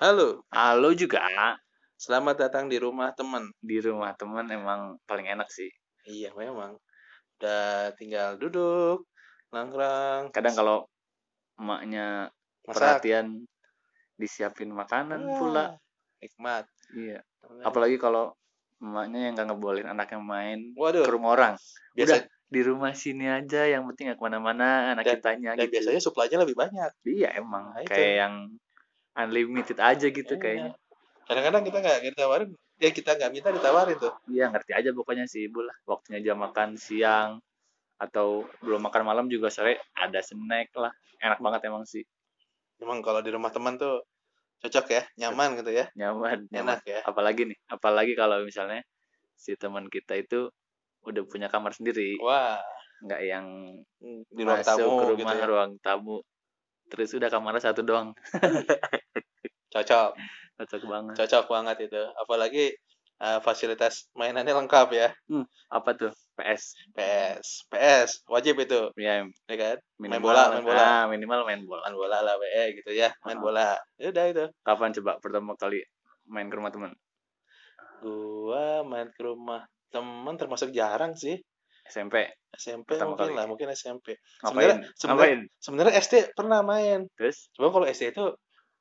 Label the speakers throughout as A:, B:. A: Halo,
B: Halo Ah, juga
A: selamat datang di rumah teman.
B: di rumah temen emang paling enak sih.
A: Iya, memang. Udah tinggal duduk, nongkrong,
B: Kadang kalau emaknya
A: masak. Iya.
B: perhatian disiapin makanan
A: Wah,
B: pula.
A: Nikmat.
B: Iya. Apalagi kalau emaknya yang nggak ngebolehin anaknya main
A: Waduh,
B: ke rumah orang.
A: biasa,
B: Di rumah sini aja, yang penting nggak kemana-mana anak
A: Dan-
B: kitanya
A: dan
B: gitu.
A: biasanya suplainya lebih banyak.
B: Iya emang
A: Nah, itu.
B: kayak yang unlimited aja gitu
A: Iya.
B: kayaknya.
A: Kadang-kadang kita nggak ditawarin, ya kita nggak minta ditawarin tuh.
B: Iya ngerti aja pokoknya sih ibu lah. Waktunya jam makan siang atau belum makan malam juga sore ada snack lah. Enak banget emang sih.
A: Memang kalau di rumah teman tuh cocok ya, nyaman gitu ya,
B: Nyaman. nyaman.
A: enak ya.
B: Apalagi nih, apalagi kalau misalnya si teman kita itu udah punya kamar sendiri,
A: Wah,
B: nggak yang
A: di ruang
B: masuk
A: tamu
B: ke
A: gitu
B: rumah
A: ya.
B: ruang tamu. Terus udah kamarnya satu doang,
A: Cocok,
B: cocok banget.
A: cocok banget itu. Apalagi eh, fasilitas mainannya lengkap ya.
B: Apa tuh? PS.
A: PS, PS, wajib itu,
B: Ya,
A: ya kan?
B: minimal,
A: bola, main bola.
B: Ah, minimal main bola.
A: main bola lah WE gitu ya main
B: Heeh.
A: bola Ya udah itu
B: Kapan coba pertama kali main ke rumah teman?
A: gua main ke rumah temen termasuk jarang sih
B: SMP.
A: SMP
B: Pertama
A: mungkin
B: kali.
A: lah mungkin SMP
B: Ngapain?
A: Sebenarnya- sebenarnya-
B: Ngapain?
A: sebenarnya SD pernah main
B: Terus?
A: cuma kalau SD itu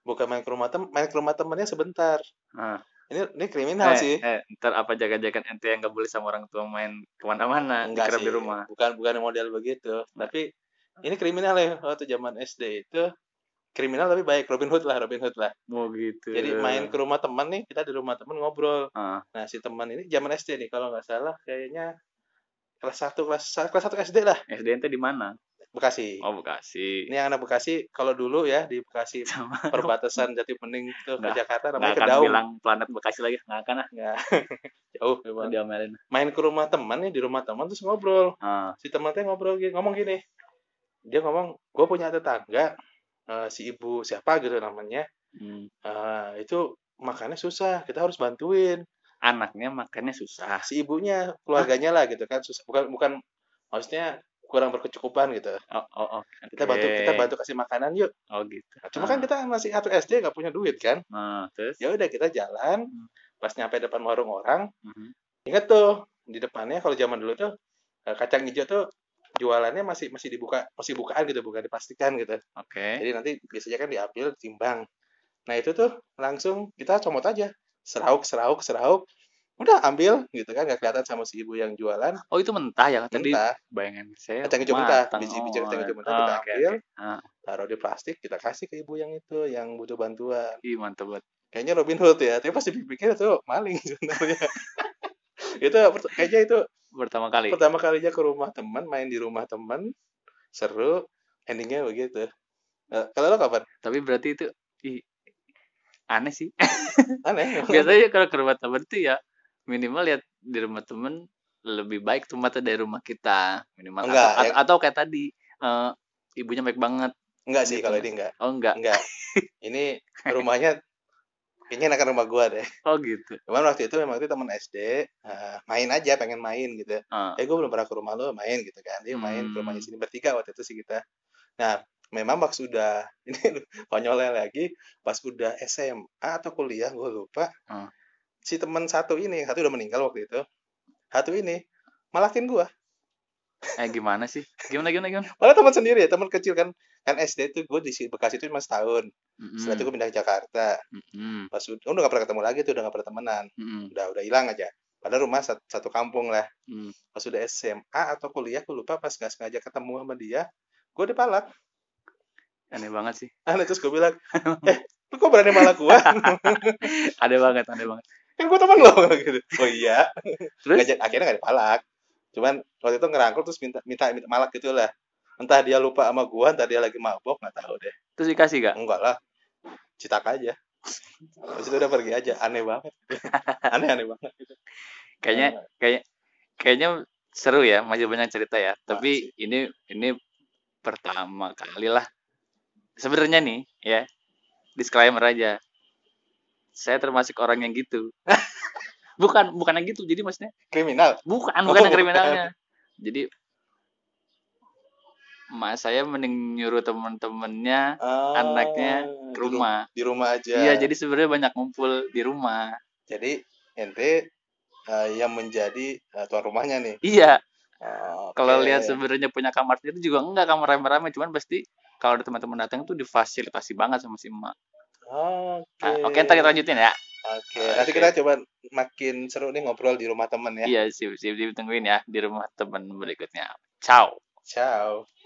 A: bukan main ke rumah temen main ke rumah temennya sebentar
B: Ah.
A: ini ini kriminal
B: eh,
A: Nah, sih
B: eh, ntar apa jaga-jagan ente yang gak boleh sama orang tua main kemana-mana,
A: Enggak
B: dikerap
A: sih
B: di rumah.
A: bukan bukan model begitu tapi ini kriminal ya waktu zaman SD itu kriminal tapi baik Robin Hood lah Robin Hood lah
B: Mau gitu.
A: jadi main ke rumah teman nih kita di rumah temen ngobrol
B: Ah,
A: Nah, si teman ini zaman SD nih kalau nggak salah kayaknya kelas 1 kelas sa- kelas 1 SD lah,
B: SD ente di mana?
A: Bekasi.
B: Oh Bekasi.
A: Ini yang anak Bekasi kalau dulu ya di Bekasi
B: Sama.
A: perbatasan Jati Bening ke, ke
B: Nggak-
A: Jakarta
B: Nggak
A: namanya
B: akan
A: Kedaung.
B: bilang planet Bekasi lagi. Nggak akan ah.
A: Nggak. Jauh. memang.
B: Diomelin.
A: Main ke rumah teman nih di rumah teman terus ngobrol.
B: Ah,
A: Si temannya ngobrol gini, ngomong gini. Dia ngomong, gue punya tetangga eh, si ibu siapa gitu namanya.
B: hmm.
A: Eh, itu makannya susah, kita harus bantuin.
B: Anaknya makannya susah.
A: Ah, Si ibunya, keluarganya lah gitu kan susah. Bukan bukan maksudnya kurang berkecukupan gitu.
B: Oh, oh, oh.
A: kita bantu
B: Oke.
A: kita bantu kasih makanan yuk
B: Oh gitu.
A: cuma kan kita masih satu SD nggak punya duit kan
B: Nah, terus.
A: ya udah kita jalan
B: Hmm.
A: pas nyampe depan warung orang
B: Mhm.
A: ingat tuh di depannya kalau zaman dulu tuh eh, kacang hijau tuh jualannya masih masih dibuka masih bukaan gitu bukan dipastikan gitu
B: Oke.
A: jadi nanti biasanya kan diambil timbang nah itu tuh langsung kita comot aja serauk serauk serauk udah ambil gitu kan nggak kelihatan sama si ibu yang jualan
B: Oh itu mentah ya tadi
A: mentah
B: bayangan saya.
A: kacang hijau mentah
B: Iya, matang.
A: biji biji kacang hijau mentah
B: Oh,
A: kita
B: oke,
A: ambil
B: oke. Ah.
A: taruh di plastik kita kasih ke ibu yang itu yang butuh bantuan
B: Ih, mantap banget.
A: kayaknya Robin Hood ya tapi pas dipikir itu maling sebenarnya itu pert- kayaknya itu
B: Pertama kali.
A: pertama kalinya ke rumah teman main di rumah teman seru endingnya begitu Eh, kalau lo kapan
B: Tapi berarti itu ih, aneh sih.
A: aneh
B: Biasanya kalau ke rumah temen tuh ya minimal lihat di rumah temen lebih baik tempatnya dari rumah kita minimal
A: Enggak, ya.
B: atau,
A: yang-
B: atau kayak tadi eh, ibunya baik banget
A: enggak sih
B: gitu.
A: kalau ini enggak
B: oh enggak
A: enggak ini rumahnya kayaknya enakan rumah gua deh
B: oh gitu
A: cuman waktu itu memang itu teman SD eh, main aja pengen main gitu
B: Ah.
A: eh gue belum pernah ke rumah lo main gitu kan dia main ke
B: Hmm.
A: rumahnya sini bertiga waktu itu sih kita nah memang pas udah ini konyolnya lagi pas udah SMA atau kuliah gue lupa
B: Hmm.
A: si teman satu ini satu udah meninggal waktu itu satu ini malakin gue
B: eh gimana sih gimana gimana gimana
A: malah teman sendiri ya teman kecil kan kan SD tuh gue di si- Bekasi itu cuma setahun
B: Mm-mm,
A: setelah itu gue pindah ke Jakarta
B: mm-mm,
A: pas udah udah gak pernah ketemu lagi tuh udah gak pernah temenan
B: mm-mm,
A: udah udah hilang aja padahal rumah sat- satu kampung lah
B: mm.
A: pas udah SMA atau kuliah gue lupa pas nggak sengaja ketemu sama dia gue dipalak
B: aneh banget sih
A: aneh Nah, terus gue bilang eh lu kok berani malah gue
B: ada banget ada banget
A: kan gue teman lo gitu oh iya
B: terus
A: Nggak jadi- akhirnya nggak dipalak cuman waktu itu ngerangkul terus minta minta minta malak gitu lah entah dia lupa sama gue entah dia lagi mabok nggak tahu deh
B: terus dikasih gak
A: enggak lah citak aja Habis itu udah pergi aja aneh banget aneh aneh banget
B: kayaknya kayak kayaknya seru ya masih banyak cerita ya
A: Masih.
B: tapi ini ini pertama kali lah sebenarnya nih ya disclaimer aja saya termasuk orang yang gitu bukan bukan yang gitu jadi maksudnya
A: kriminal
B: bukan
A: Oh,
B: bukan
A: bukan.
B: yang kriminalnya jadi emak saya mending nyuruh temen-temennya
A: Ah,
B: Anaknya
A: di
B: ke
A: ru-
B: rumah.
A: Oh. di rumah aja
B: Iya, jadi sebenarnya banyak ngumpul di rumah.
A: jadi ente eh, yang menjadi eh, tuan rumahnya nih
B: Iya,
A: Oh,
B: kalau
A: oke.
B: lihat sebenarnya punya kamar sendiri juga enggak kamar rame-rame, cuman pasti kalau ada teman-teman datang tuh difasilitasi banget sama si emak.
A: oke
B: Nah, oke, ntar
A: iya,
B: kita lanjutin ya.
A: Oke, nanti kita coba makin seru nih ngobrol di rumah temen ya.
B: Iya, sip, sip, sip, tungguin ya di rumah teman berikutnya. Ciao.
A: Ciao.